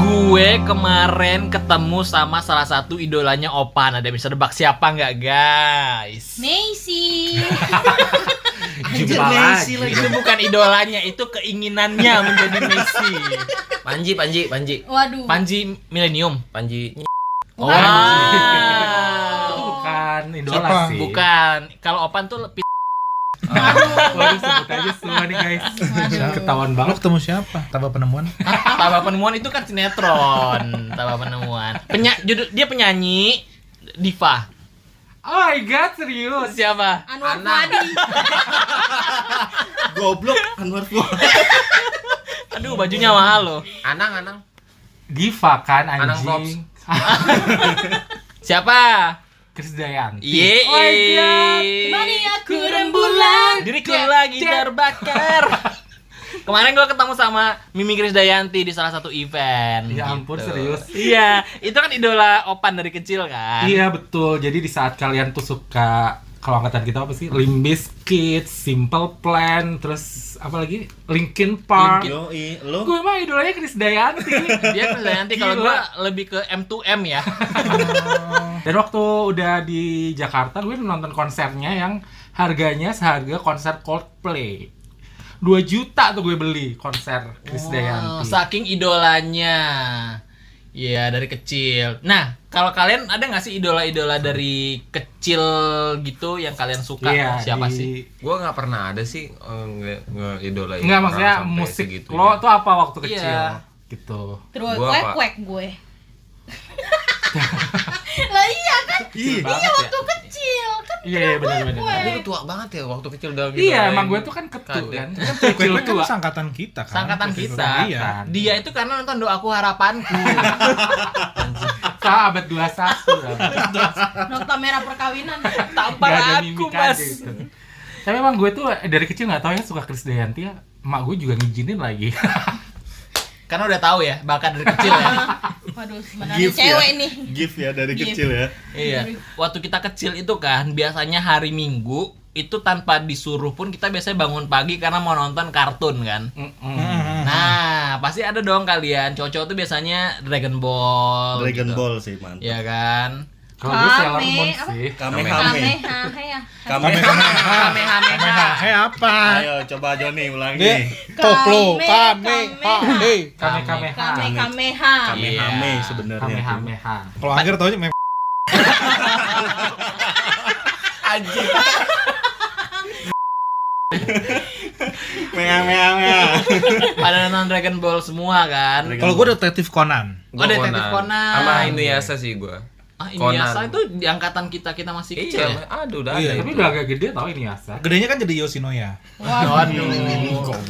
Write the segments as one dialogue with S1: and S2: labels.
S1: Gue kemarin ketemu sama salah satu idolanya Opan. Ada yang bisa debak siapa nggak guys?
S2: Macy.
S3: Anjir,
S4: Jumpa lagi.
S3: Messi lagi.
S1: Itu bukan idolanya, itu keinginannya menjadi Messi.
S4: Panji, Panji, Panji,
S2: Waduh. Ah.
S1: Panji Millennium.
S4: Panji.
S1: Oh,
S2: Bukan.
S1: Wow.
S3: Itu
S2: Oh.
S3: bukan idola
S5: Siapa?
S3: sih.
S1: Bukan. Kalau Opan tuh lebih
S3: Waduh sebut aja semua nih guys.
S2: Waduh.
S3: Ketahuan
S5: Lu
S3: banget.
S5: ketemu siapa? Tambah penemuan?
S1: Tabah Penemuan itu kan sinetron. Tabah Penemuan. Penya, judul- dia penyanyi diva.
S3: Oh my god serius.
S1: Siapa?
S2: Anwar
S4: Anang.
S2: Fuadi.
S4: Goblok Anwar Fuad.
S1: Aduh, bajunya mahal loh.
S4: Anang, Anang.
S3: Diva kan
S4: Anang
S3: anjing.
S1: Siapa?
S3: Krisdayanti.
S1: Yeay.
S3: Oh my God.
S2: Kembali
S1: ya,
S2: aku rembulan.
S1: Diriku lagi terbakar. Kemarin gue ketemu sama Mimi Krisdayanti di salah satu event. Gitu.
S3: Ya ampun, serius?
S1: Iya, itu kan idola Opan dari kecil kan.
S3: Iya betul. Jadi di saat kalian tuh suka kalau angkatan kita apa sih? Limbis Kids, Simple Plan, terus apa lagi? Linkin Park.
S4: Yoi, lu
S3: Gue mah idolanya Chris Dayanti.
S1: Dia Krisdayanti kalau
S3: Gila.
S1: gue lebih ke M2M ya.
S3: Dan waktu udah di Jakarta, gue nonton konsernya yang harganya seharga konser Coldplay. 2 juta tuh gue beli konser
S1: Oh,
S3: Chris Dayanti.
S1: saking idolanya. Iya, dari kecil. Nah, kalau kalian ada nggak sih idola-idola dari kecil gitu yang kalian suka?
S3: Iya,
S1: Siapa
S3: di-
S1: sih?
S4: gua nggak pernah ada sih eh, nge- ngeidolain
S3: Enggak
S4: orang
S3: maksudnya
S4: sampai ya.
S3: musik
S4: segitunya.
S3: lo tuh apa waktu kecil?
S1: Iya.
S3: Gitu.
S2: Terus
S4: Gua apa?
S2: kuek-kuek gue. lah iya kan?
S3: Kecil
S2: Iya
S3: banget
S2: waktu kecil kan.
S3: Iya, iya benar benar.
S2: Kuek.
S4: Tapi lu tua banget ya waktu kecil
S1: Gitu
S4: udah
S3: Iya,
S4: ngidolain
S3: emang gue tuh kan ketu
S4: kadek.
S3: kan. Kan Kecil
S5: Kue-kue
S3: tua.
S5: kan sangkatan kita kan?
S1: Sangkatan
S5: Kue-kue
S1: kita.
S5: Iya.
S1: Dia itu karena nonton doaku harapanku.
S3: Sa abad 21.
S2: Nota merah perkawinan.
S1: Tampar
S3: Enggak ada gitu.
S1: aku,
S3: mimik
S1: Mas.
S3: aja itu. Tapi emang gue tuh dari kecil nggak tahu ya suka Chris Dayanti ya. Mak gue juga ngizinin lagi.
S1: Karena udah tahu ya, bahkan dari kecil ya.
S2: Waduh, sebenarnya cewek nih.
S6: Gift ya dari
S2: Gift.
S6: kecil ya.
S1: iya. Waktu kita kecil itu kan biasanya hari Minggu itu tanpa disuruh pun kita biasanya bangun pagi karena mau nonton kartun kan.
S3: Mm-mm.
S1: Nah, pasti ada dong kalian. Cowok-cowok tuh biasanya Dragon Ball. gitu.
S6: Dragon Ball sih man.
S1: Iya kan?
S3: Kalau gue Sailor
S2: Kame,
S3: Moon
S2: apa?
S3: sih.
S6: Kamehame.
S2: Kamehameha. ya.
S6: Kamehame.
S1: Kamehameha.
S5: Eh apa?
S6: Ayo coba
S5: Dia
S6: Joni ulangi.
S5: koplo
S2: Kame,
S5: kame
S2: kame.
S3: Kame
S5: kame.
S3: Kameha.
S2: Kamehameha.
S6: Kamehame
S1: Iya.
S6: sebenarnya.
S3: Kamehameha.
S5: Kalau Angger taunya mem
S4: Anjing.
S6: Mea mea mea.
S1: Pada nonton Dragon Ball semua kan?
S6: Dragon
S5: Kalau gue detektif Conan.
S4: Gua
S1: Detektif Conan.
S4: gitu. Sama Inuyasha sih gue.
S1: Ah, ini
S4: Conan.
S1: biasa itu di angkatan kita kita masih kecil ya.
S4: Iya, aduh udah
S5: Iya,
S4: ada.
S3: Tapi
S4: itu.
S3: udah agak gede tau ini ya. Asa.
S5: Gedenya kan jadi Yoshinoya.
S1: Waduh.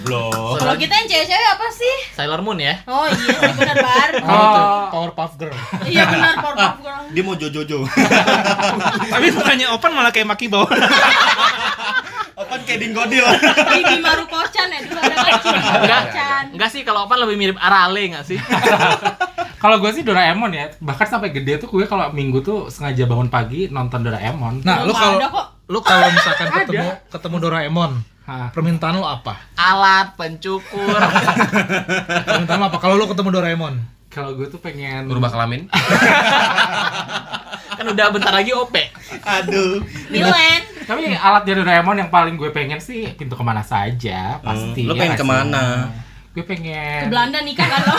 S6: Goblok.
S2: Kalau kita yang cewek-cewek apa sih?
S1: Sailor Moon ya.
S2: Oh iya, sih, benar bar.
S5: Apa tuh?
S3: Oh.
S5: Powerpuff Girl.
S2: Iya benar Powerpuff Girl.
S6: Dia mau jojojo.
S5: Tapi bukannya Open malah kayak Maki bawah.
S6: Apaan kayak dinggodil.
S2: Bibi Maru Kocan ya dulu ada kan Bibi
S1: Enggak.
S2: Kocan.
S1: Kan- Enggak sih kalau Opan lebih mirip Arale enggak sih?
S3: Kalau gue sih Doraemon ya. Bahkan sampai gede tuh gue kalau minggu tuh sengaja bangun pagi nonton Doraemon.
S5: Nah, lu
S2: Belum
S5: kalau
S2: ada kok.
S5: lu kalau misalkan
S3: Ada.
S5: ketemu ketemu Doraemon,
S3: Hah.
S5: permintaan lu apa?
S1: Alat pencukur.
S5: Permintaan lu apa kalau lu ketemu Doraemon?
S3: Kalau gue tuh pengen
S4: Berubah kelamin.
S1: kan udah bentar lagi OP.
S6: Aduh.
S2: Milen.
S3: Tapi alat dari Doraemon yang paling gue pengen sih pintu kemana saja
S5: Hmm,
S3: pasti. ya
S6: Hmm. Lu pengen
S3: nggak sih?
S6: kemana?
S3: Gue
S2: Ke
S3: pengen.
S2: Belanda nikah kan lo.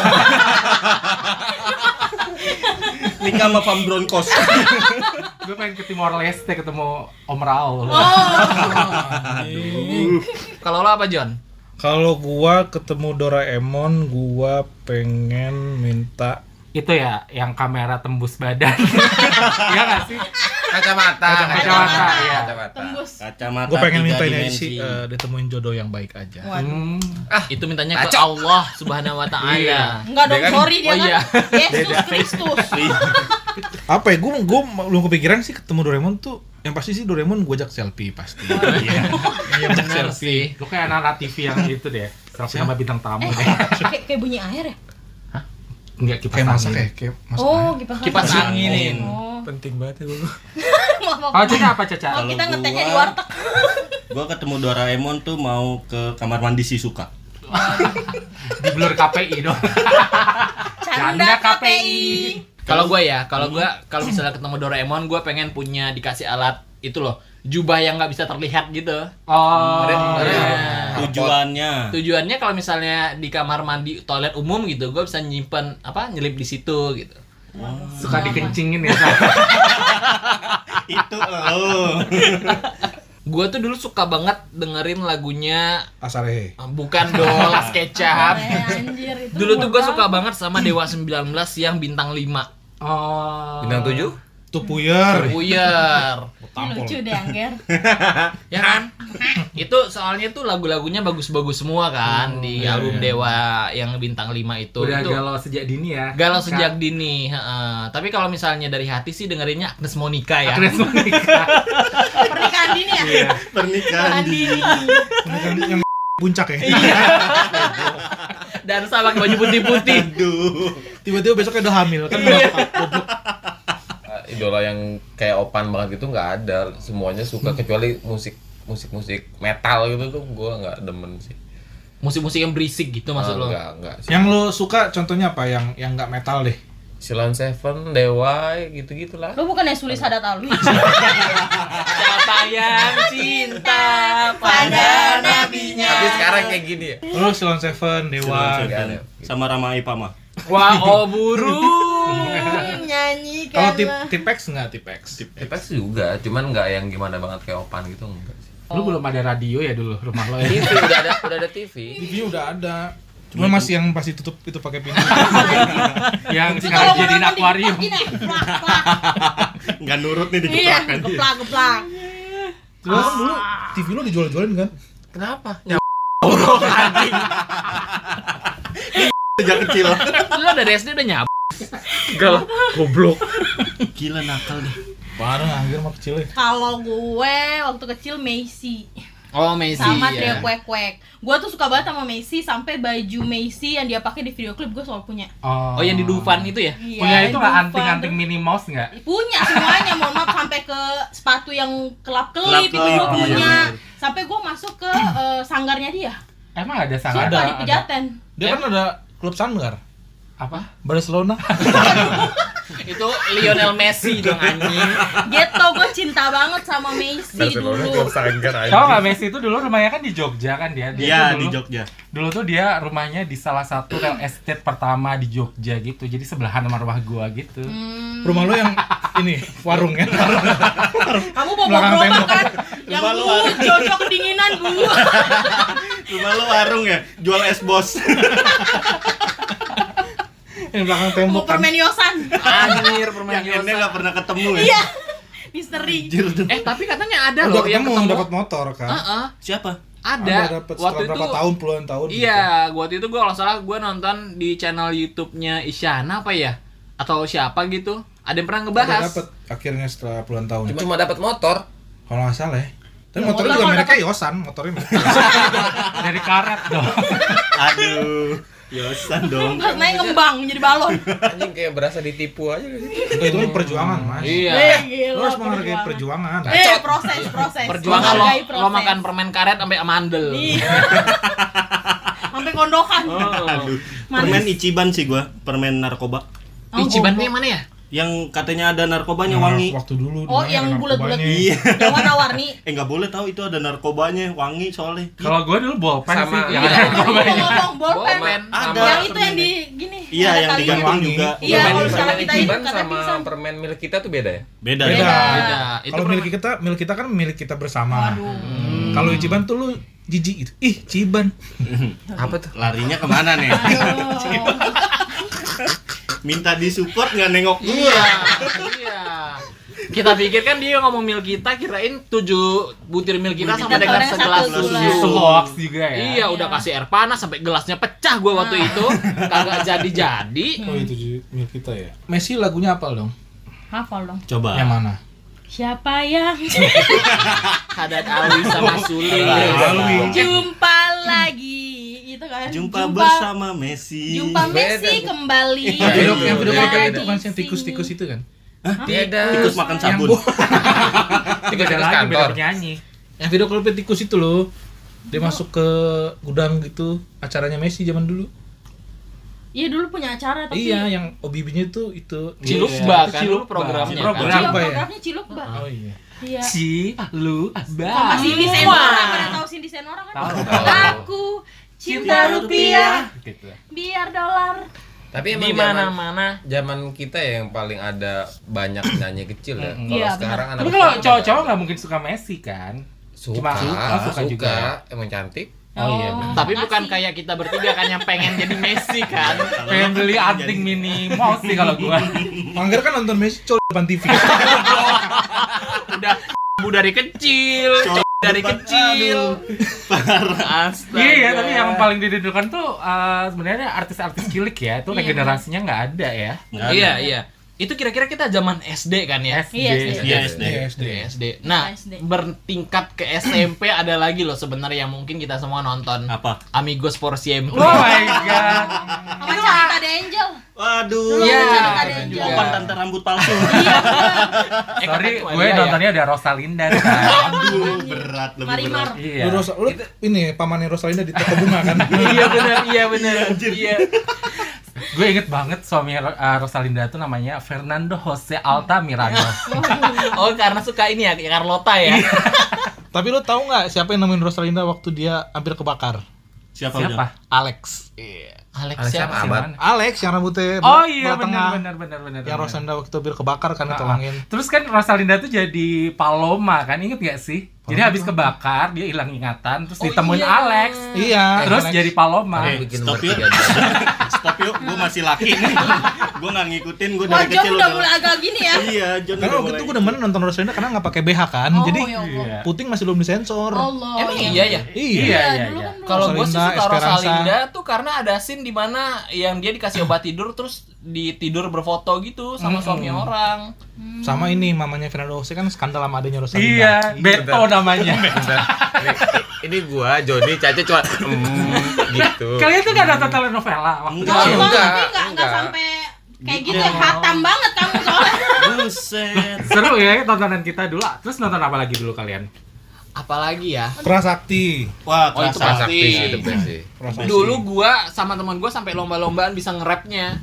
S6: Nikah sama Van Broncos.
S3: Gue pengen ke Timor Leste ketemu Om Raul.
S2: Oh.
S1: Kalau lo apa John?
S5: Kalau gua ketemu Doraemon, gua pengen minta
S3: Itu ya yang kamera tembus badan. Iya nggak sih?
S4: Kacamata.
S3: Kacamata, iya.
S4: Kacamata.
S2: Tembus.
S6: Kacamata.
S5: gua pengen
S6: tiga
S5: minta ini aja
S6: dimensi.
S5: sih eh, ditemuin jodoh yang baik aja.
S2: Waduh.
S3: Hmm.
S1: Itu mintanya ke
S4: Kacau.
S1: Allah Subhanahu wa taala.
S2: Enggak dong,
S4: Dia kan-
S2: sorry dia
S1: oh iya.
S2: kan. Yesus Kristus. Eh,
S5: eh. Apa ya? Gua gua belum kepikiran sih ketemu Doraemon tuh. Yang pasti sih Doraemon gua ajak selfie pasti.
S1: Iya benar sih.
S3: Lu kayak anak TV yang itu deh. Selfie sama bintang tamu
S2: Eh,
S3: deh.
S2: kayak kayak bunyi air ya?
S3: Enggak kipas
S5: Kayak masak
S3: angin.
S5: ya, kayak masak.
S2: Oh, kipas
S1: Kipas angin.
S2: Oh.
S4: Penting banget ya gue.
S2: Mau mau-
S3: Kalau Caca apa Oh, Caca?
S2: mau Oh, kita
S6: Kalau
S2: ngeteknya di
S6: gua-
S2: warteg.
S6: Gua ketemu Doraemon tuh mau ke kamar mandi Shizuka.
S3: Di blur KPI dong.
S2: Ca, Canda
S3: Canda
S2: KPI.
S1: Kalau gue ya, kalau gue kalau misalnya ketemu Doraemon, gue pengen punya dikasih alat itu loh, jubah yang nggak bisa terlihat gitu.
S3: Oh,
S1: Iya.
S6: Tujuannya.
S1: Tujuannya kalau misalnya di kamar mandi toilet umum gitu, gue bisa nyimpen apa nyelip di situ gitu.
S3: suka dikencingin ya.
S6: Itu oh. lo.
S1: Gue tuh dulu suka banget dengerin lagunya
S5: Asarehe.
S1: ah, bukan dong, Las
S2: Apa
S1: Kecap.
S2: ya, Anjir itu.
S1: Dulu tuh gue
S2: apa?
S1: suka banget sama Dewa 19 yang bintang 5
S3: Oh.
S4: Bintang tujuh?
S5: Tupuyer.
S1: Puyer
S2: Ini Lucu deh Angger.
S1: Ya kan? itu soalnya tuh lagu-lagunya bagus-bagus semua kan Di
S5: iya,
S1: album
S5: iya.
S1: Dewa yang bintang 5 itu
S3: Udah
S1: itu
S3: galau sejak dini ya.
S1: galau sejak dini heeh. Tapi kalau misalnya dari hati sih dengerinnya Agnes Monica ya
S3: Agnes Monica.
S2: Pernikahan dini ya?
S3: Iya.
S2: Pernikahan
S6: Pernikahan di
S2: dini.
S5: Kan yang puncak ya.
S1: Dan sama baju putih-putih
S6: Aduh.
S5: Tiba-tiba besoknya udah hamil kan.
S4: Eh, Idola yang kayak opan banget gitu nggak ada. Semuanya
S3: Hmm.
S4: suka kecuali musik musik musik metal gitu tuh gue nggak demen sih. Eh,
S1: Musik-musik yang berisik gitu maksud lo
S4: Enggak, enggak.
S5: Yang lo suka contohnya apa? Yang yang nggak metal deh.
S4: Silon Seven, Dewa, gitu-gitulah.
S2: Lu bukannya Suli Sadat Alwi?
S1: Siapa yang cinta pada nabinya
S4: Tapi sekarang kayak gini ya.
S5: Lo Silon Seven, Dewa.
S4: Silon Seven.
S6: Tujuan. Sama Rama Ipama.
S1: Wah oh burung
S2: Nyanyi
S5: Kalau
S2: kan.
S5: tip tipex nggak tipex?
S4: Tipex juga, cuman nggak yang gimana banget kayak opan gitu enggak sih.
S3: Lu belum ada radio ya dulu rumah lo ya.
S4: TV udah ada, udah ada TV.
S5: TV udah ada. Cuma masih yang pasti tutup itu pakai pintu.
S3: Yang
S2: Kalau mau
S3: sekarang jadiin
S2: nonton di
S3: akuarium.
S2: tempat gini, plak, plak.
S6: Nggak nurut nih
S2: Iya,
S6: dikeplakan.
S2: geplak geplak.
S5: Terus kan dulu TV lo dijual-jualin kan?
S4: Kenapa?
S6: Sejak kecil.
S1: Lu dari SD udah nyab
S6: Gila nakal deh.
S5: Parah anjir mah kecil ya.
S2: Kalau gue waktu kecil Macy
S1: Oh Messi
S2: sama
S1: ya.
S2: trio kuek kuek. Gue tuh suka banget sama Macy sampai baju Macy yang dia pakai di video klip gue selalu punya.
S1: Oh yang di Dufan itu ya?
S2: Iya,
S3: Punya itu nggak
S2: lupa.
S3: anting-anting Minnie Mouse nggak?
S2: Punya semuanya, mohon maaf sampai ke sepatu yang kelap kelip itu gue
S6: Kelap-kelip,
S2: punya.
S6: iya,
S2: Sampai gue masuk ke eh, sanggarnya dia.
S3: Emang ada
S2: Sumpah
S3: sangat
S2: di
S3: ada.
S2: pejaten.
S5: Dia kan ada klub sanggar.
S3: Apa?
S5: Barcelona.
S1: Itu Lionel Messi dong anjing.
S2: Ghetto gue cinta banget sama Macy dulu.
S4: sanggar
S3: Tahu nggak Messi itu dulu rumahnya kan di Jogja kan dia? Dia
S6: Iya
S3: tuh
S6: di
S3: dulu,
S6: Jogja.
S3: dulu tuh dia rumahnya di salah satu real estate pertama di Jogja gitu. Jadi sebelahan sama rumah gua gitu.
S2: Hmm.
S5: Rumah lo yang ini warung ya.
S2: Kamu bawa
S5: Belakang
S2: gerobak
S5: tembok.
S2: kan? Yang
S6: Rumah lu
S2: uh,
S6: ada.
S2: cocok dinginan uh.
S6: Rumah lo warung ya? Jual es bos.
S5: yang
S2: Mau
S5: belakang tembok kan.
S2: permen yosan.
S1: Anjir permen
S6: Yang ini
S1: Yosan.
S6: nggak pernah ketemu ya?
S2: Iya. Misteri.
S6: Anjir tuh.
S1: Eh tapi katanya ada
S5: Udah
S1: loh yang
S5: ketemu
S1: ketemu.
S5: dapat motor kan.
S1: Heeh,
S6: Siapa?
S1: ada.
S5: dapat
S1: Waktu
S5: setelah
S1: itu
S5: berapa tahun gitu? puluhan tahun.
S1: Iya, waktu itu gue kalau salah gue nonton di channel YouTube-nya Isyana apa ya? Atau siapa gitu. Ada yang pernah
S5: Gitu. Udah
S1: ngebahas.
S5: dapat akhirnya setelah puluhan tahun.
S4: Cuma, cuma dapat motor.
S5: Kalau nggak salah ya. Tapi
S2: Ya,
S5: motornya
S2: motor
S5: juga
S2: kalau
S5: mereknya Yosan, motornya merek Yosan.
S3: Dari karet dong.
S6: Aduh. Yosan dong.
S2: Terus naik ngembang jadi balon.
S4: Anjing kayak berasa ditipu aja gitu.
S5: Itu itu kan perjuangan, Mas.
S2: Eh,
S1: Iya.
S2: gila,
S5: Lo harus menghargai
S2: perjuangan.
S5: perjuangan.
S2: Eh, proses, proses.
S1: Perjuangan lo,
S2: Menghargai
S1: lo
S2: proses.
S1: makan permen karet sampai amandel.
S2: Iya. Sampai kondokan.
S1: Oh.
S2: Manis.
S6: Permen Ichiban sih gua, permen narkoba.
S2: Oh,
S1: Ichiban
S2: goblok.
S1: yang mana ya?
S6: Yang katanya ada narkobanya
S5: Nah,
S6: wangi.
S5: Waktu dulu
S2: Oh,
S5: dimana
S2: yang
S5: ada
S2: bulat-bulat.
S5: narkobanya.
S6: Iya.
S2: Yang warna-warni.
S6: Eh nggak boleh tahu itu ada narkobanya, wangi soalnya.
S3: Kalau gua dulu bolpen
S4: Sama,
S3: sih. ya kan? Yang
S1: iya.
S3: ada
S2: Lu
S3: rumahnya.
S2: ngomong bolpen.
S1: Bolpen.
S6: Ada.
S1: Sama-
S2: Yang itu yang di gini.
S6: Iya,
S2: ada kali.
S6: yang
S5: digantung.
S6: digantung
S5: Wangi.
S6: juga.
S2: Iya,
S4: Permen-
S2: kalau misalnya
S4: permen
S2: kita itu
S4: Ichiban
S2: katanya
S4: sama
S2: pingsan.
S4: permen milik kita tuh beda ya?
S6: Beda,
S5: Beda.
S6: ya.
S1: Beda. Itu
S5: Kalau
S1: permen-
S5: milik kita, milik kita kan milik kita bersama.
S2: Waduh.
S5: Kalau Ichiban tuh lu jijik gitu. Ih, Ciban.
S6: ya.
S4: Apa tuh?
S6: Larinya kemana nih?
S2: Aduh.
S6: Minta disupport nggak nengok gua.
S1: Iya, iya. Kita pikir kan dia ngomong mil kita, kirain tujuh butir mil kita sama
S2: kita
S1: dengan
S2: sama
S1: segelas
S2: satu
S1: susu.
S2: gelas
S3: Itu hoax juga ya.
S1: Iya, udah kasih air panas sampai gelasnya pecah gua waktu itu. Kagak jadi-jadi.
S5: Oh, itu milik kita ya. Messi lagunya apa dong?
S2: Hafal dong.
S6: Coba.
S5: Yang mana?
S2: Siapa yang
S1: Hadat Alwi sama Suli.
S5: Alwi.
S2: jumpa lagi? Itu kan.
S6: Jumpa bersama Messi.
S2: Jumpa Messi
S4: Beda.
S2: kembali.
S5: Yang
S4: Iya,
S5: video
S4: iya,
S5: yang video
S4: iya,
S5: klipnya
S4: iya,
S5: itu
S4: iya.
S5: kan yang tikus-tikus itu kan?
S4: Beda.
S6: Tikus makan sabun.
S4: Tikus
S3: Beda
S4: tikus
S3: lagi beda
S4: kantor.
S3: penyanyi.
S5: Yang video klipnya tikus itu
S3: Oh.
S5: loh. Dia masuk ke gudang gitu acaranya Messi zaman dulu.
S2: Iya dulu punya acara tapi
S5: Iya, yang OBB-nya tuh itu
S1: Cilukba
S3: Iya,
S1: kan
S3: Cilukba.
S1: dulu programnya kan?
S5: Program.
S2: Cilok
S5: apa ya?
S2: programnya Cilok Mbak.
S5: Oh iya.
S2: Iya.
S3: Si lu
S2: Sama
S3: bang.
S2: Cindy Senora, pada tahu Cindy Senora kan?
S3: Tahu.
S2: Aku cinta rupiah
S3: Gitu.
S2: biar dolar.
S4: Tapi
S1: Di
S4: emang zaman,
S1: mana-mana.
S4: zaman kita ya yang paling ada banyak nyanyi kecil ya.
S3: Mm-mm.
S4: Kalau
S2: Iya,
S4: sekarang anak
S3: Tapi kalau
S4: sekarang
S3: cowok-cowok nggak mungkin suka Messi kan?
S4: suka,
S3: Cuma-
S4: suka,
S3: oh, suka juga ya.
S4: emang cantik.
S3: Oh, iya, benar.
S1: Tapi bukan
S2: makasih.
S1: kayak kita bertiga kan yang pengen jadi Messi kan.
S6: Iya.
S3: Pengen beli anting minimal sih kalau gua.
S5: Manggar kan nonton Messi col depan TV.
S1: Udah bu dari kecil,
S6: Cowok
S1: cowok dari
S6: depan-
S1: kecil. Astaga.
S3: Iya ya, tapi yang paling dirindukan tuh eh, sebenarnya artis-artis cilik ya, itu
S2: Iya.
S3: regenerasinya nggak ada ya.
S1: Iya, iya. Itu kira-kira kita zaman SD kan ya?
S3: SD.
S2: Iya, SD.
S6: Iya, SD.
S5: Iya, SD.
S1: Iya, SD.
S3: Ah,
S1: Nah,
S2: SD.
S1: bertingkat ke SMP ada lagi loh sebenarnya yang mungkin kita semua nonton.
S6: Apa?
S1: Amigos for Siempre.
S3: Oh my god.
S2: Sama Carita The Angel.
S6: Waduh.
S2: Dulu
S1: Iya.
S2: Carita The Angel.
S6: Opan tante rambut palsu.
S2: Iya,
S1: Eh,
S3: Sorry,
S1: kata
S3: gue
S1: Walia ya.
S3: nontonnya ada Rosalinda kan.
S6: Aduh, berat lebih
S2: Marimar.
S6: berat.
S3: Iya.
S5: Lu Rosa, lu ini pamannya Rosalinda di toko bunga kan?
S1: Iya benar, iya benar. Iya.
S3: Gue inget banget suaminya eh, Rosalinda tuh namanya Fernando Jose Altamirano.
S1: Oh, karena suka ini ya Carlota ya.
S3: Iya.
S5: Tapi lu tahu nggak siapa yang nemuin Rosalinda waktu dia hampir kebakar?
S6: Siapa udah?
S3: Siapa?
S5: Alex. Iya.
S1: Alex siapa?
S4: Alex siapa? Ahmad.
S3: Siapa?
S5: Alex yang rambutnya
S3: Oh iya
S5: belah tengah.
S3: benar benar benar benar.
S5: Yang
S3: benar.
S5: Rosalinda waktu hampir kebakar kan ditolongin.
S3: Terus kan Rosalinda tuh jadi Paloma kan, inget gak sih? Jadi habis kebakar dia hilang ingatan, terus
S1: Oh,
S3: ditemuin
S1: iya.
S3: Alex,
S5: Iya.
S3: terus
S5: Alex.
S3: jadi Paloma.
S6: Eh,
S4: Bikin
S6: stop yuk.
S4: bertiga aja.
S6: Stop yuk, gue masih laki nih. gue nggak ngikutin, gue
S2: Wah,
S6: dari
S2: John
S6: kecil
S2: udah mulai agak gini ya.
S6: Iya, John
S5: Karena waktu itu gue demen nonton Rosalinda karena nggak pakai BH kan,
S2: Oh,
S5: jadi
S2: ya Allah.
S3: Iya. Oh,
S5: puting masih belum disensor.
S2: Allah.
S1: Emang iya ya?
S5: Iya.
S3: Iya,
S2: Iya,
S3: iya,
S2: dulu
S3: iya.
S2: kan belum.
S1: Kalau gue sih
S5: Rosalinda,
S1: suka
S5: Esperanza.
S1: Rosalinda tuh karena ada scene di mana yang dia dikasih obat tidur terus di tidur berfoto gitu sama
S3: Mm-mm.
S1: suami orang.
S5: Sama ini mamanya Fernando Jose kan skandal sama adanya Rosalinda.
S3: Iya, Beto
S4: Bener.
S3: namanya.
S4: ini, ini gua Jody Caca cuma mm, gitu.
S3: Kalian tuh gak nonton telenovela waktu
S6: Enggak.
S2: Enggak,
S4: Enggak,
S2: tapi enggak, enggak
S4: enggak.
S2: sampai kayak gitu
S6: Gitu.
S2: ya, hatam banget kamu soalnya.
S6: Buset.
S3: Seru ya tontonan kita dulu. Terus nonton apa lagi dulu kalian?
S1: Apalagi ya?
S5: Prasakti.
S6: Wah,
S1: Oh, itu pasti.
S6: kerasa.
S4: Sakti sih the best sih.
S5: Prasakti.
S1: Dulu gua sama teman gua sampai lomba-lombaan bisa nge-rapnya.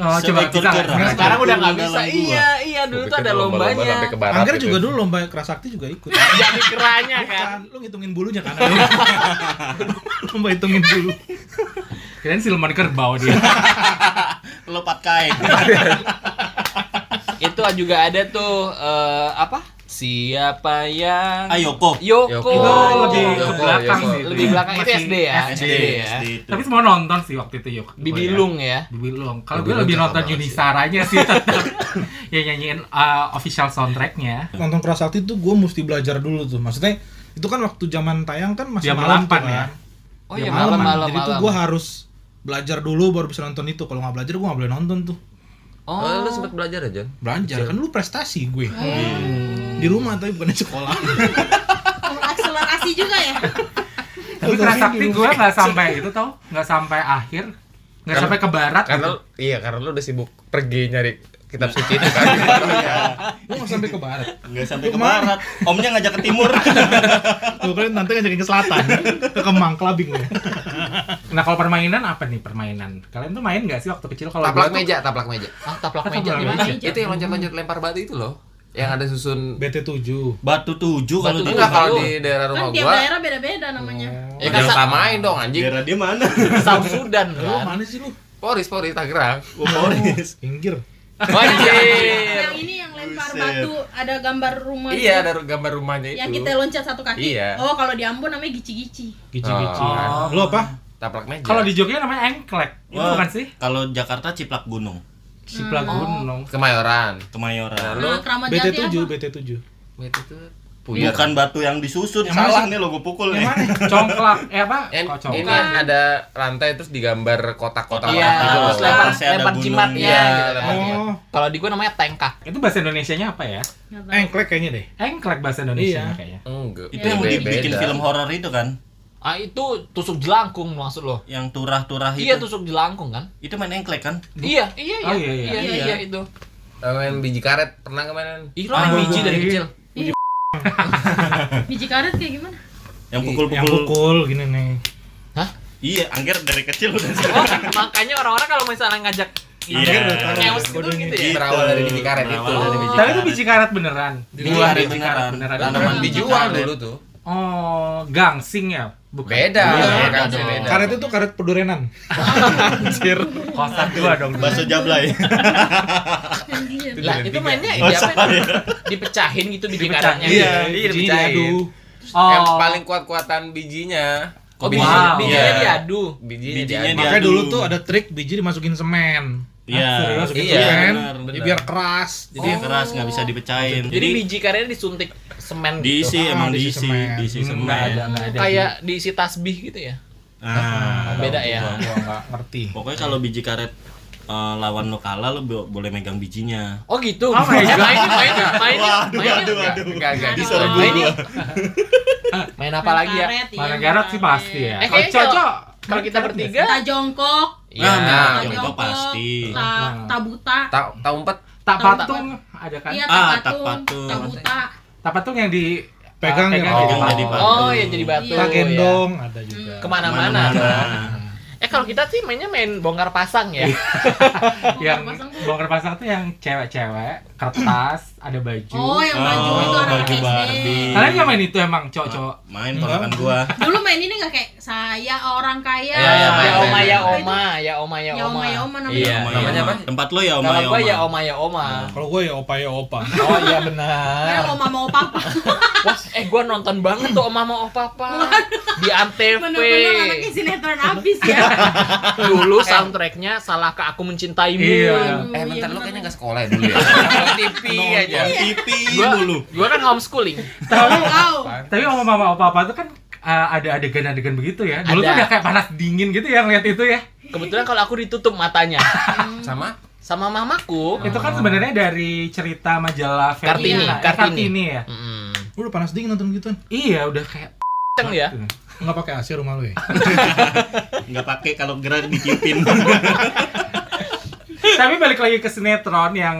S3: Oh, coba
S6: Sebagai
S3: kita
S6: culture.
S1: Nah,
S6: Nah,
S1: sekarang
S6: itu
S1: udah nggak
S6: dalam
S1: bisa.
S6: gua.
S1: Iya, iya dulu
S4: Gua
S1: tuh
S4: pikir
S1: ada
S4: kan lomba-lomba
S1: lombanya.
S4: sampai ke barat
S5: Angger
S4: gitu.
S5: juga dulu lomba Prasakti juga ikut.
S3: Iya,
S1: Jadi keranya kan.
S5: Bukan, lu ngitungin bulunya kan. lomba hitungin bulu.
S3: Kalian siluman kerbau dia.
S6: Lepat kain.
S1: Itu juga ada tuh eh, apa? Siapa yang
S6: Ayoko.
S1: Yoko.
S4: Itu
S3: lebih ke
S1: Yoko,
S3: belakang
S1: Yoko.
S3: sih itu
S1: Lebih
S3: ya.
S1: belakang itu
S3: Masih
S1: SD ya.
S6: SD,
S1: ya.
S6: Iya, SD itu.
S3: Tapi semua nonton sih waktu itu yuk.
S1: Bibilung ya.
S3: Bibilung. Kalau gue
S4: Bibilung
S3: lebih
S4: cakep
S3: nonton
S4: banget sih.
S3: Yunisaranya sih tetap. yang nyanyiin uh, official soundtracknya.
S5: Nonton Prasakti tuh gue mesti belajar dulu tuh. Maksudnya itu kan waktu zaman tayang kan masih
S3: Jam
S5: malam tuh
S3: 8
S5: kan.
S3: ya.
S1: Oh
S3: Dia
S1: iya
S5: Malam, kan.
S1: malam malam.
S5: Jadi tuh
S1: malam.
S5: gue harus belajar dulu baru bisa nonton itu. Kalau nggak belajar gue nggak boleh nonton tuh.
S4: Oh,
S1: Oh,
S4: lu sempet belajar aja?
S5: Belajar kan lu prestasi gue. Di rumah tapi bukan di sekolah.
S2: Akselerasi juga ya.
S3: Tapi Prasakti gue nggak sampai itu tau, nggak sampai akhir, nggak
S4: Karena-
S3: sampai ke barat
S4: Karena
S3: gitu.
S4: iya, karena lu udah sibuk pergi nyari kitab suci itu kan.
S5: Gue nggak sampai ke barat.
S6: Nggak sampai ke
S5: Kemana?
S6: barat. Omnya ngajak ke timur.
S5: Gue kalian nanti ngajakin ke selatan, ke Kemang, Kelabing gue.
S3: Nah kalau permainan apa nih permainan? Kalian tuh main nggak sih waktu kecil kalau
S4: taplak
S3: gua tuh-
S4: meja, taplak meja.
S1: ah, taplak
S3: Taplak
S1: meja gimana?
S3: meja.
S4: Itu yang loncat-loncat lempar batu itu loh. Yang ada susun
S5: BT 7
S6: Batu tujuh
S1: Batu
S6: kalau dulu.
S4: Enggak kalau
S1: Tujuh.
S4: di daerah
S2: Kan
S4: rumah
S2: tiap
S4: gua.
S2: daerah beda-beda namanya.
S4: Ya
S1: Oh,
S4: kan
S1: jangan
S4: samain dong anjing.
S6: Daerah dia mana?
S1: Samsudan
S5: Lu
S1: kan.
S5: mana sih lu?
S4: Poris, Poris Tangerang.
S6: Gua Boris.
S5: Pinggir.
S1: Wajib.
S2: Yang ini yang lempar
S6: Buset.
S2: batu ada gambar rumah.
S4: Iya,
S2: gitu.
S4: ada gambar rumahnya
S2: yang
S4: itu.
S2: kita loncat satu kaki.
S4: Iya.
S2: Oh, kalau di Ambon namanya gici-gici.
S5: Gici-gici.
S3: Oh.
S5: Lu apa?
S4: Taplak meja.
S3: Kalau di Jogja namanya engklek, Oh, itu
S6: Wah,
S3: bukan sih?
S6: Kalau Jakarta Ciplak Gunung,
S3: Cipla gunung.
S4: Kemayoran.
S6: Kemayoran.
S4: Nah, lu
S2: Nah, keramat
S5: BT
S2: jati
S5: 7
S2: apa?
S5: BT 7
S4: itu tuh
S1: Iya,
S4: puyar.
S6: Bukan batu yang disusut,
S5: Yang
S6: salah
S5: mana?
S6: nih lo gue pukul nih.
S5: Yang mana?
S3: Congklak, eh apa?
S4: Oh. En-
S3: Kok
S4: ini
S3: congklak?
S4: ada lantai terus digambar kotak-kotak
S1: Iya,
S4: gitu loh.
S1: terus lempar
S6: Pasti ada
S1: lempar
S6: gunung.
S1: jimatnya.
S4: Iya,
S1: gitu kan.
S5: Oh,
S1: Kalau di gue namanya tengkak.
S3: Itu bahasa Indonesianya apa ya?
S2: Nggak
S4: Eh,
S2: tahu.
S5: engklek kayaknya deh.
S3: Engklek bahasa Indonesianya
S5: Iya.
S3: kayaknya.
S4: Enggak.
S6: Itu yang
S4: beda-
S6: dibikin
S4: beda.
S6: film horor itu kan,
S1: Ah itu tusuk jelangkung maksud lo?
S6: yang turah-turah Ah, itu.
S1: Iya tusuk jelangkung kan?
S6: Itu main engklek kan?
S1: Iya, iya, iya.
S3: Oh, iya, iya.
S1: iya,
S6: Iya.
S1: iya, itu.
S4: Eh, main biji karet pernah nggak mainan?
S1: Ih, lo main
S3: Ah,
S1: biji dari
S3: iya.
S1: kecil.
S2: Biji karet kayak gimana?
S6: Yang
S5: Yang
S6: pukul-pukul.
S5: pukul gini nih.
S1: Hah?
S6: Iya, Angger dari kecil udah sih.
S1: Oh, makanya orang-orang kalau misalnya ngajak
S6: Iya.
S1: ngajak
S6: udah tahu.
S1: ngeus gitu gitu ya.
S4: Berawal dari biji karet itu.
S6: Berawal dari biji
S3: Tapi itu
S6: karet.
S3: biji karet beneran.
S4: Biji
S3: Buah
S4: karet
S3: karet beneran.
S4: Tanaman
S2: Beneran.
S4: dijual dulu tuh.
S3: Oh, gangsing ya? Bukan. iya,
S4: Beda,
S6: Beda
S4: kan,
S6: dong.
S4: beda.
S5: Karet itu karet pedurenan.
S3: Anjir. Kosa dua dong. dulu.
S6: Bakso jablay.
S2: Anjir.
S1: Lah, itu mainnya
S6: Oh,
S1: di apa?
S6: salah ya.
S1: iya. Dipecahin gitu biji
S3: Dipecah.
S1: karetnya.
S3: Iya,
S4: iya,
S5: Jadi
S4: dipecahin.
S5: diadu.
S3: Oh.
S4: Yang paling kuat-kuatan bijinya.
S1: Oh,
S3: biji-
S1: bijinya,
S3: Wow.
S1: bijinya
S4: Iya.
S1: diadu.
S4: Bijinya,
S6: Bijinya
S4: diadu.
S5: Makanya
S6: Diadu.
S5: dulu tuh ada trik biji dimasukin semen. Ah,
S6: Iya.
S5: Serius, masukin
S4: Iya,
S5: semen, ya
S6: benar,
S4: benar.
S5: biar keras.
S6: Jadi keras nggak bisa dipecahin.
S1: Jadi,
S6: Jadi
S1: biji karetnya disuntik semen gitu.
S6: diisi
S5: Ah,
S6: emang
S5: diisi
S6: diisi,
S5: semen.
S6: diisi
S3: Hmm, nggak ada,
S6: semen.
S3: nggak ada.
S1: Kayak diisi tasbih gitu ya.
S6: Ah,
S1: Beda ya.
S5: Gua- Gua nggak ngerti.
S6: Pokoknya kalau biji karet eh, lawan lo kalah lo bo- boleh megang bijinya.
S1: Oh gitu.
S3: Oh my
S1: mainnya,
S3: God.
S1: mainnya, mainnya, mainnya,
S6: Waduh,
S1: mainnya.
S6: waduh, waduh.
S4: Enggak, enggak Nah,
S2: Aduh.
S4: bisa.
S2: Diserbu.
S1: Mainnya. Main apa lagi ya?
S2: Karet, iya,
S3: Mana garot sih pasti ya.
S1: Eh,
S3: Kalau
S1: kayaknya
S3: cocok. kan
S1: Kalau kita bertiga,
S2: Ta jongkok,
S4: Iya,
S6: Nah,
S2: ta
S6: jongkok
S2: jongkok
S6: pasti.
S2: Ta, ta buta.
S4: Ta- tahu empat
S3: tak
S2: Tahu
S3: patung ada kan?
S2: Iya,
S6: Ah,
S2: ta
S6: tak
S2: patung,
S6: patung.
S2: ta buta.
S3: Tak patung yang di
S5: Pegang
S3: yang
S4: Pegang
S5: ya.
S6: jadi
S3: jadi
S6: batu.
S1: oh ya jadi batu.
S2: Iya.
S5: Tak
S1: ya.
S5: gendong ada juga.
S1: Kemana-mana. Eh kalau kita sih mainnya main bongkar pasang ya.
S3: yang
S2: Bongkar pasang tuh.
S3: bongkar pasang tuh yang cewek-cewek kertas ada baju
S2: Oh, yang baju
S6: Oh,
S2: itu anak
S6: baju
S2: SD.
S6: Barbie.
S3: kalian nggak main itu emang cowok-cowok
S6: Main ponakan gua.
S2: Dulu main ini nggak kayak saya orang kaya.
S4: Ya, ya,
S1: ya
S4: main,
S1: oma
S4: main,
S1: ya
S4: main.
S1: oma, ya oma ya
S2: Ya
S1: oma.
S2: oma, ya oma namanya.
S1: Iya,
S6: Oma,
S4: namanya
S6: ya, Oma.
S4: apa?
S6: Tempat lo ya Oma
S1: Kalau
S6: ya
S1: gua ya
S6: Oma.
S1: oma ya oma.
S5: Kalau gue ya opa ya opa.
S1: Oh iya
S2: Ya,
S1: benar.
S2: oma mau papa.
S1: Wah, eh gua nonton banget tuh Oma mau Papa di Antv.
S2: Bener-bener anaknya sinetron abis ya.
S1: Dulu soundtracknya salah ke aku mencintaimu.
S3: Iya.
S2: Aduh,
S4: Eh, bentar
S2: iya,
S4: lu
S2: bener.
S4: kayaknya enggak sekolah ya dulu ya. TV aja.
S6: Pipi
S3: Iya.
S1: Gua,
S6: mulu.
S1: gua kan homeschooling.
S2: Oh, Wow.
S3: tapi om mama opa opa tuh kan uh, ada adegan-adegan begitu ya dulu tuh
S1: Ada.
S3: udah kayak panas dingin gitu ya ngeliat itu ya
S1: Kebetulan kalau aku ditutup matanya
S4: Sama
S1: sama mamaku.
S3: itu kan sebenarnya dari cerita majalah
S1: Oh. Kartini,
S3: Ferdinand, eh,
S1: Kartini.
S3: Kartini ya
S1: Mm.
S5: Lu udah panas dingin nonton gituan.
S3: iya udah kayak eh.
S1: Ceng ya.
S5: Enggak pakai AC rumah lu ya?
S6: Nggak pakai kalau gerak ditiupin.
S3: tapi balik lagi ke sinetron yang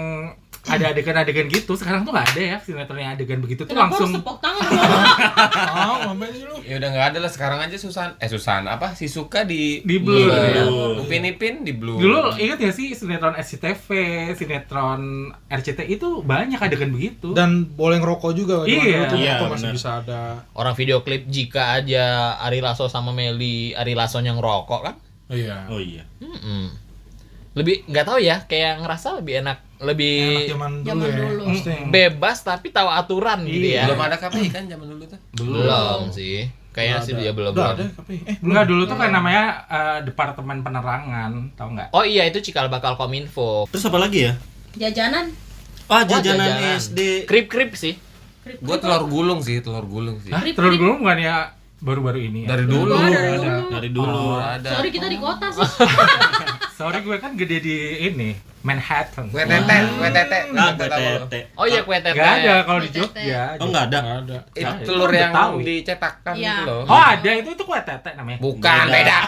S3: ada adegan-adegan gitu sekarang tuh nggak ada ya sinetron yang adegan begitu tuh
S2: Kenapa harus
S3: langsung
S2: tepok tangan sama
S5: Oh, ngapain sih lu?
S4: ya udah nggak ada lah sekarang aja Susan eh Susan apa si suka di
S3: Di
S1: Iya.
S3: blur. gitu ya.
S6: Blur.
S4: Upin Ipin di blue
S3: Dulu inget ya sih sinetron SCTV, sinetron RCTI itu banyak adegan begitu.
S5: Dan boleh ngerokok juga zaman
S3: Iya.
S5: dulu tuh
S6: Iya,
S5: ngerokok masih
S6: benar.
S5: bisa ada.
S1: Orang video klip jika aja Ari Lasso sama Meli, Ari Lasso yang rokok kan?
S5: Iya.
S6: Oh iya.
S1: Mm-mm. Lebih nggak tahu ya, kayak ngerasa lebih enak,
S5: Enak
S1: lebih
S5: zaman dulu
S2: Zaman
S5: ya.
S2: dulu.
S5: Maksudnya yang-
S1: bebas tapi tahu aturan gitu ya.
S4: belum ada KPI kan zaman dulu tuh
S1: Belum sih. Kayaknya sih dia belum.
S5: Udah ada
S1: belum.
S5: tapi eh
S3: Enggak dulu tuh
S1: Iya.
S3: kayak namanya eh, Departemen Penerangan, tau nggak?
S1: Oh iya itu cikal bakal kominfo.
S6: Terus apa lagi ya?
S2: Jajanan.
S1: Wah,
S6: Ah, jajanan SD.
S1: Krip krip sih.
S4: gua telur gulung sih telur gulung sih
S3: Hah? Telur dulu bukan ya baru-baru ini ya?
S4: dari dulu
S2: Wah,
S4: nggak
S2: dari
S4: ada
S2: dulu.
S6: Dari dulu.
S4: Nggak ada
S2: Sorry kita di kota sih.
S3: Sorry gue kan gede di ini, Manhattan.
S4: kue tete kue tete
S6: Ah,
S4: Nggak
S6: gue
S4: tahu lu.
S6: tete.
S1: Oh iya kue teteh.
S3: Gak ada kalau di
S2: Kue tete.
S3: Jogja.
S6: Oh nggak ada.
S5: nggak ada.
S4: itu
S3: Nah, itu
S4: telur
S3: udah
S4: yang
S3: tahu.
S4: dicetakkan
S2: Iya.
S4: itu loh
S3: Oh ada itu itu kue tete namanya.
S4: bukan beda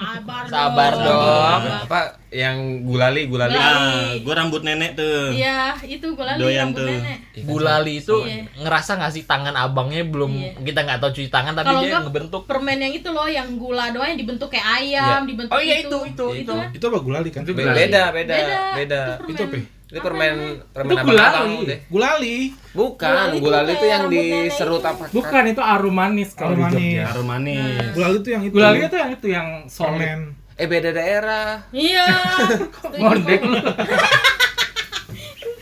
S2: Sabar dong.
S1: Sabar dong.
S4: apa yang gulali gulali
S2: Gulali.
S6: Ah, gua rambut nenek tuh.
S2: Iya, itu gue lalu
S6: Doyan
S2: rambut
S6: tuh.
S2: nenek.
S1: Gulali itu
S2: Iya.
S1: ngerasa nggak sih tangan abangnya belum
S2: Iya.
S1: kita nggak tahu cuci tangan tapi
S2: Kalau
S1: dia
S2: enggak
S1: ngebentuk.
S2: permen yang itu loh yang gula doang yang dibentuk kayak ayam, dibentuk
S1: Oh iya,
S2: gitu.
S1: itu, itu, itu.
S2: kan.
S5: Itu apa gulali kan?
S3: Itu
S4: Be-
S3: gulali.
S4: beda beda
S2: Beda.
S4: beda
S5: Itu apa? ya?
S4: itu permen permen
S3: Itu
S4: apa
S3: gulali.
S4: tahu deh
S5: Gulali.
S4: bukan
S2: Gulali itu
S4: gulali itu
S2: kayak
S4: yang
S2: rambut nenek
S4: diserut
S2: itu.
S4: apa
S3: Bukan itu arum manis kalau
S5: Arum
S3: di Jogja.
S5: manis.
S6: Harum manis.
S5: Gulali tuh yang itu.
S3: Gulali itu yang itu yang solid.
S5: permen.
S4: eh beda daerah
S2: Iya.
S3: Ngondek lu.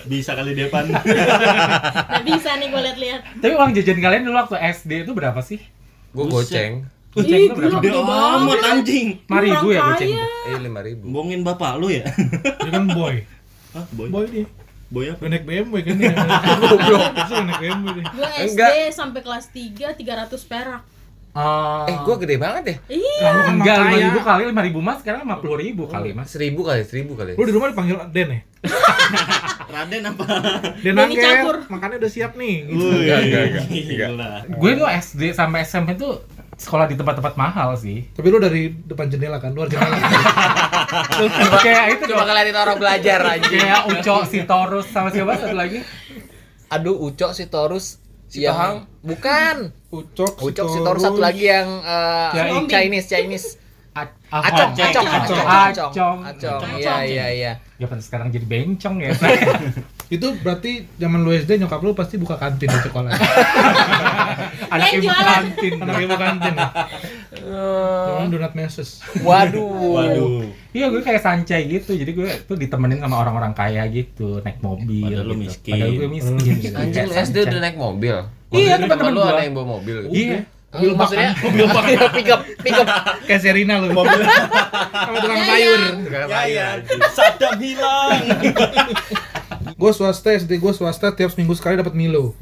S6: Bisa kali depan.
S2: Nggak bisa nih gue lihat-lihat.
S3: Tapi uang jajan kalian dulu waktu SD itu berapa sih?
S4: gua goceng
S3: Goceng itu berapa?
S6: Gede amat anjing.
S3: Lima ribu ya goceng itu?
S4: eh lima ribu
S6: Bohongin bapak lu ya?
S5: Dia kan boy.
S6: Hah, boy.
S5: Boy dia.
S6: Boy apa?
S5: Gue naik BMW kan dia. Goblok. Itu naik BMW dia.
S2: Gue SD
S4: Enggak.
S2: sampai kelas 3 300 perak.
S3: Oh.
S4: eh gua gede banget ya
S2: Iya.
S5: Lah, lu kan
S3: Enggak,
S5: makaya.
S3: 5 ribu kali 5 ribu mas, sekarang 50 ribu kali mas
S4: seribu kali seribu kali
S5: Lu di rumah dipanggil Den ya?
S6: Raden apa?
S5: Den
S2: Deni campur.
S5: Angger, makannya udah siap nih. Gitu.
S4: Enggak, enggak, enggak, enggak.
S6: Gila.
S3: Gue tuh SD sampai SMP tuh sekolah di tempat-tempat mahal sih
S5: Tapi lu dari depan jendela kan, luar jendela.
S3: Kayak itu
S1: Coba
S3: dong
S1: ngeliatin orang belajar aja.
S3: Kayak Uco, si Torus, sama siapa satu lagi
S1: Aduh Ucok si Torus si yang... Bukan.
S5: Ucok,
S1: Ucok si Torus satu lagi yang eh,
S3: Cai-
S1: Chinese Chinese.
S3: A-
S7: Acong,
S3: Alphonse.
S7: acong,
S3: Acong.
S7: acong,
S3: Acong.
S7: acong, acong. Iya, iya, iya.
S3: Ya pen sekarang jadi bencong ya.
S5: Itu berarti zaman lu SD nyokap lu pasti buka kantin di sekolah.
S3: Anak
S2: Eh,
S3: ibu
S2: jualan.
S3: kantin.
S5: Anak ibu kantin.
S4: Eh.
S5: Cuman donat meses.
S7: Waduh.
S6: Waduh.
S3: Iya gue kayak sancai gitu, jadi gue tuh ditemenin sama orang-orang kaya gitu, naik mobil.
S6: Padahal lu
S3: gitu.
S6: miskin.
S3: Padahal gue miskin. gitu.
S4: Hmm. Anjing
S3: Kayak
S4: SD
S3: sancai.
S4: udah naik mobil.
S3: Iya,
S4: Maksudnya
S3: teman-teman
S4: lu
S3: gua.
S4: ada yang bawa mobil. gitu?
S3: Iya.
S4: Mobil maksudnya mobil
S7: Iya, pick up, pick up.
S5: Kayak Serina lu. Sama tukang sayur.
S6: Ya ya. Sadam hilang.
S5: Gue swasta SD gue swasta tiap seminggu sekali dapat Milo.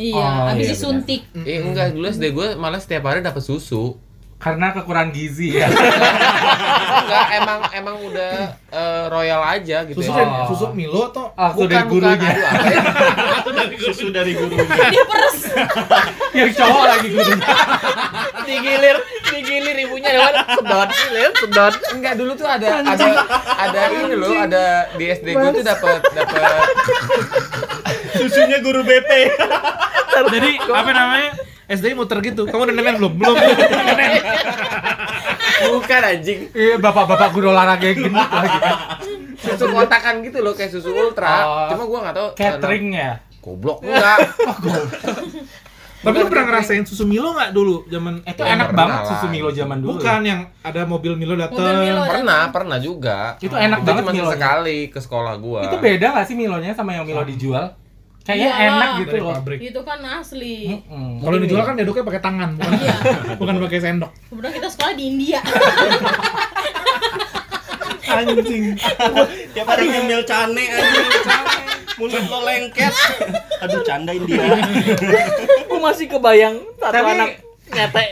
S2: Iya,
S3: Oh,
S2: habis
S3: iya,
S2: disuntik.
S4: Eh enggak, dulu SD gue malah setiap hari dapat susu.
S3: Karena kekurangan gizi ya.
S4: Enggak, emang emang udah eh, royal aja gitu.
S5: Susu
S4: ya.
S3: Oh.
S5: susu Milo atau
S3: Ah, sudah
S4: Bukan, bukan.
S3: gurunya.
S4: Aduh, apa ya?
S6: Susu dari guru.
S2: Dia peres.
S3: Yang cowok lagi gurunya.
S7: Digilir, digilir ibunya lewat sedot, lewat sedot.
S4: Enggak dulu tuh ada ada ada ini loh, ada di SD gue tuh dapat dapat
S6: Susunya guru BP.
S5: Jadi apa namanya? SD muter gitu. Kamu udah nenen belum? Belum.
S4: bukan anjing.
S3: Iya, bapak-bapak guru olahraga yang gendut lagi.
S4: Susu kotakan gitu loh kayak susu ultra.
S3: Oh.
S4: Cuma gue enggak tahu eh,
S3: Catering ya.
S4: Nah, goblok enggak.
S5: Tapi lu pernah ngerasain susu Milo nggak dulu zaman
S3: Itu
S4: Ya,
S3: enak
S4: pernah
S3: banget
S4: lah.
S3: susu Milo zaman dulu.
S5: Bukan yang ada mobil Milo
S2: Mobil Milo.
S5: dateng.
S4: pernah, pernah juga.
S3: Itu
S4: Itu
S3: enak banget
S4: cuma
S3: Milonya.
S4: sekali ke sekolah gua.
S3: Itu beda gak sih Milonya sama yang Milo dijual? Kayaknya
S2: Iyalah.
S3: enak gitu
S5: Dari
S3: loh.
S5: pabrik.
S2: Itu kan asli.
S3: Mm-mm.
S5: Kalau yang dijual kan diaduknya pakai tangan, bukan
S2: Iya.
S5: bukan pakai sendok.
S2: Kemudian kita sekolah di India.
S5: Anjing.
S6: Tiap hari ngemil cane aja. Mulut lo lengket. Aduh candain dia.
S7: Aku masih kebayang satu
S3: Tapi-
S7: anak ngetek.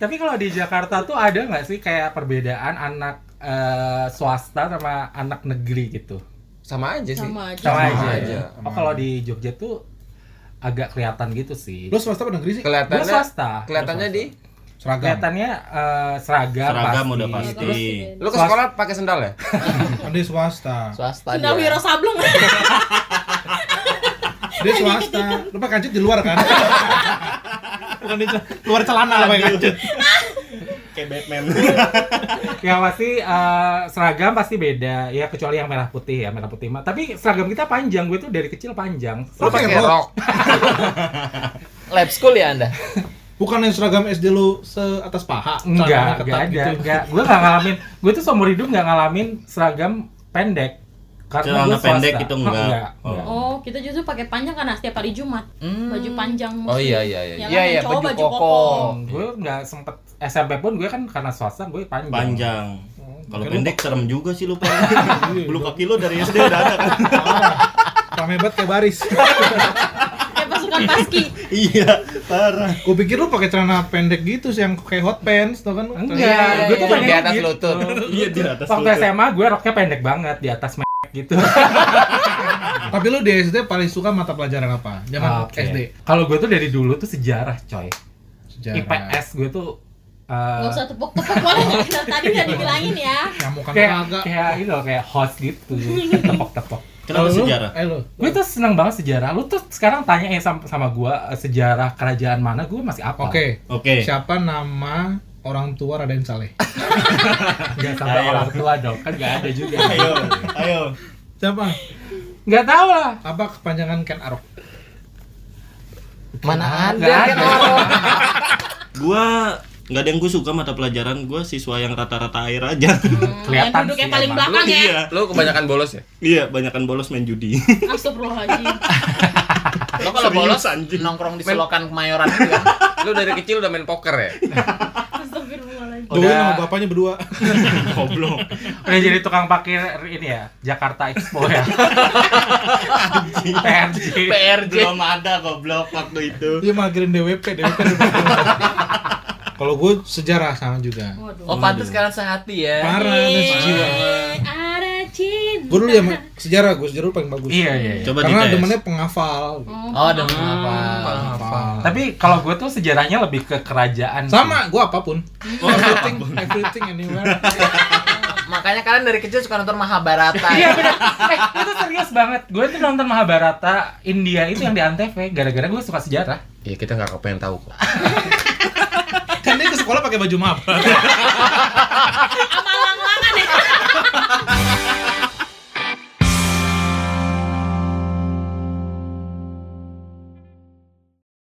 S3: Tapi kalau di Jakarta tuh ada nggak sih kayak perbedaan anak eh, swasta sama anak negeri gitu?
S4: sama aja sih.
S2: Sama aja.
S4: Sama
S3: Sama, aja.
S4: aja.
S3: Oh kalau di Jogja tuh agak kelihatan gitu sih.
S5: Lu swasta apa negeri sih?
S3: Gua
S4: Kelihatannya
S3: swasta.
S4: kelihatannya di
S5: Seragam.
S3: kelihatannya eh, seragam,
S6: Seragam
S3: pasti.
S6: udah pasti.
S4: lu ke sekolah pakai sendal ya?
S5: Kan dia swasta.
S7: Swasta
S2: Sendal
S7: dia.
S2: Wiro Sableng. Iya,
S5: Dia swasta.
S2: gitu.
S5: Lu pakai kancut di luar kan? bukan di cel- luar celana lah pakai kancut.
S6: Kayak Batman.
S3: Ya pasti eh, seragam pasti beda. Ya kecuali yang merah putih ya, merah putih mah. Tapi seragam kita panjang, gue tuh dari kecil panjang.
S4: Lu
S5: pakai
S4: pakai
S5: rok?
S4: rok.
S7: Lab school ya Anda?
S5: Bukan yang seragam SD lu seatas paha. celananya
S3: Enggak,
S5: ketat
S3: enggak ada,
S5: gitu.
S3: enggak. Gue nggak ngalamin. Gue tuh seumur hidup nggak ngalamin seragam pendek.
S6: Celana
S3: gua swasta.
S6: pendek itu enggak.
S3: Oh,
S6: Oh.
S3: enggak.
S2: Oh, kita justru pakai panjang karena setiap hari Jumat. Baju panjang
S4: Oh
S2: mesti.
S4: iya iya
S2: Ya,
S4: iya.
S7: Iya,
S2: kan,
S7: iya,
S2: yang cowok
S7: baju
S2: baju
S7: koko.
S2: koko.
S3: Gue nggak sempet SMP pun gue kan karena swasta gue panjang. Oh, gitu.
S6: Panjang. Kalau pendek serem juga sih lu Pak. Bulu kaki lu dari SD udah ada kan?
S5: Rame banget kayak baris.
S2: Kayak pasukan paski.
S6: Iya, parah.
S5: Gue pikir lu pakai celana pendek gitu sih yang kayak hot pants, tau kan? lu?
S3: Enggak,
S5: Celana-
S3: gue tuh
S4: iya.
S3: pengen
S4: Di atas
S3: gitu.
S4: lutut.
S6: Iya di atas
S3: Waktu
S6: lutut.
S3: SMA gue roknya pendek banget di atas m gitu.
S5: Tapi lu di SD paling suka mata pelajaran apa? Zaman
S3: Ah, Oke.
S5: SD.
S3: Kalau gue tuh dari dulu tuh sejarah, coy.
S5: Sejarah.
S3: IPS gue tuh
S2: Gak
S3: eh
S2: usah tepuk-tepuk boleh. Nah, Tadi udah dibilangin ya.
S5: Nyamukan
S3: kayak
S5: kagak.
S3: kayak itu loh, kayak host gitu, tepok-tepok.
S6: Kenapa
S5: Kalau lu,
S6: sejarah?
S5: Eh lu.
S3: Gue tuh seneng banget sejarah. Lu tuh sekarang tanya ya sama, sama gue eh, sejarah kerajaan mana, gue masih apa?
S5: Oke.
S6: Oke.
S5: Siapa nama orang tua Raden Saleh?
S3: Gak
S5: Ya,
S3: sampai
S6: Ayo.
S3: orang tua dong, kan gak ada juga.
S6: Ayo, ayo.
S5: Siapa?
S3: Gak tau lah.
S5: Apa kepanjangan Ken Arok?
S7: Mana
S3: Nggak
S7: ada?
S3: ada.
S6: Gua nggak ada yang gue suka mata pelajaran gue siswa yang rata-rata air aja
S2: Yang
S3: Kelihatan
S2: duduk
S3: sih
S2: yang paling
S3: emang.
S2: belakang ya.
S6: iya
S4: Lu kebanyakan bolos ya?
S6: iya banyakan bolos main judi
S2: Astagfirullahaladzim.
S7: Lo kalau
S6: Serius,
S7: bolos
S6: anjing.
S7: nongkrong di selokan kemayoran itu kan.
S4: Lu dari kecil udah main poker ya?
S2: Astagfirullahaladzim.
S5: Doi sama bapaknya berdua.
S6: goblok
S3: Udah jadi tukang parkir ini ya, Jakarta Expo ya. PRJ.
S7: PRJ.
S6: belum ada goblok waktu itu
S5: Dia magerin DWP, DWP. Kalau gue sejarah sama juga.
S2: Waduh.
S7: Oh, pantas sekarang sehati ya.
S5: Parah ada sejiwa.
S2: Eh, Ada cinta.
S5: Gue dulu ya ma- sejarah, gue sejarah paling bagus.
S3: Iya, iya. iya.
S6: coba
S5: Karena
S6: dites
S5: demennya penghafal.
S7: Oh, dong apa?
S5: Penghafal.
S3: Tapi kalau gue tuh sejarahnya lebih ke kerajaan. sih.
S5: sama, gue apapun. Everything, everything anywhere.
S7: Makanya kalian dari kecil suka nonton Mahabharata. ya?
S3: Iya benar. Eh, itu serius banget. Gue tuh nonton Mahabharata India itu yang di Antv gara-gara gue suka sejarah.
S4: Iya, kita nggak kepengen tahu kok.
S5: Kan dia ke sekolah pakai baju map.
S2: sama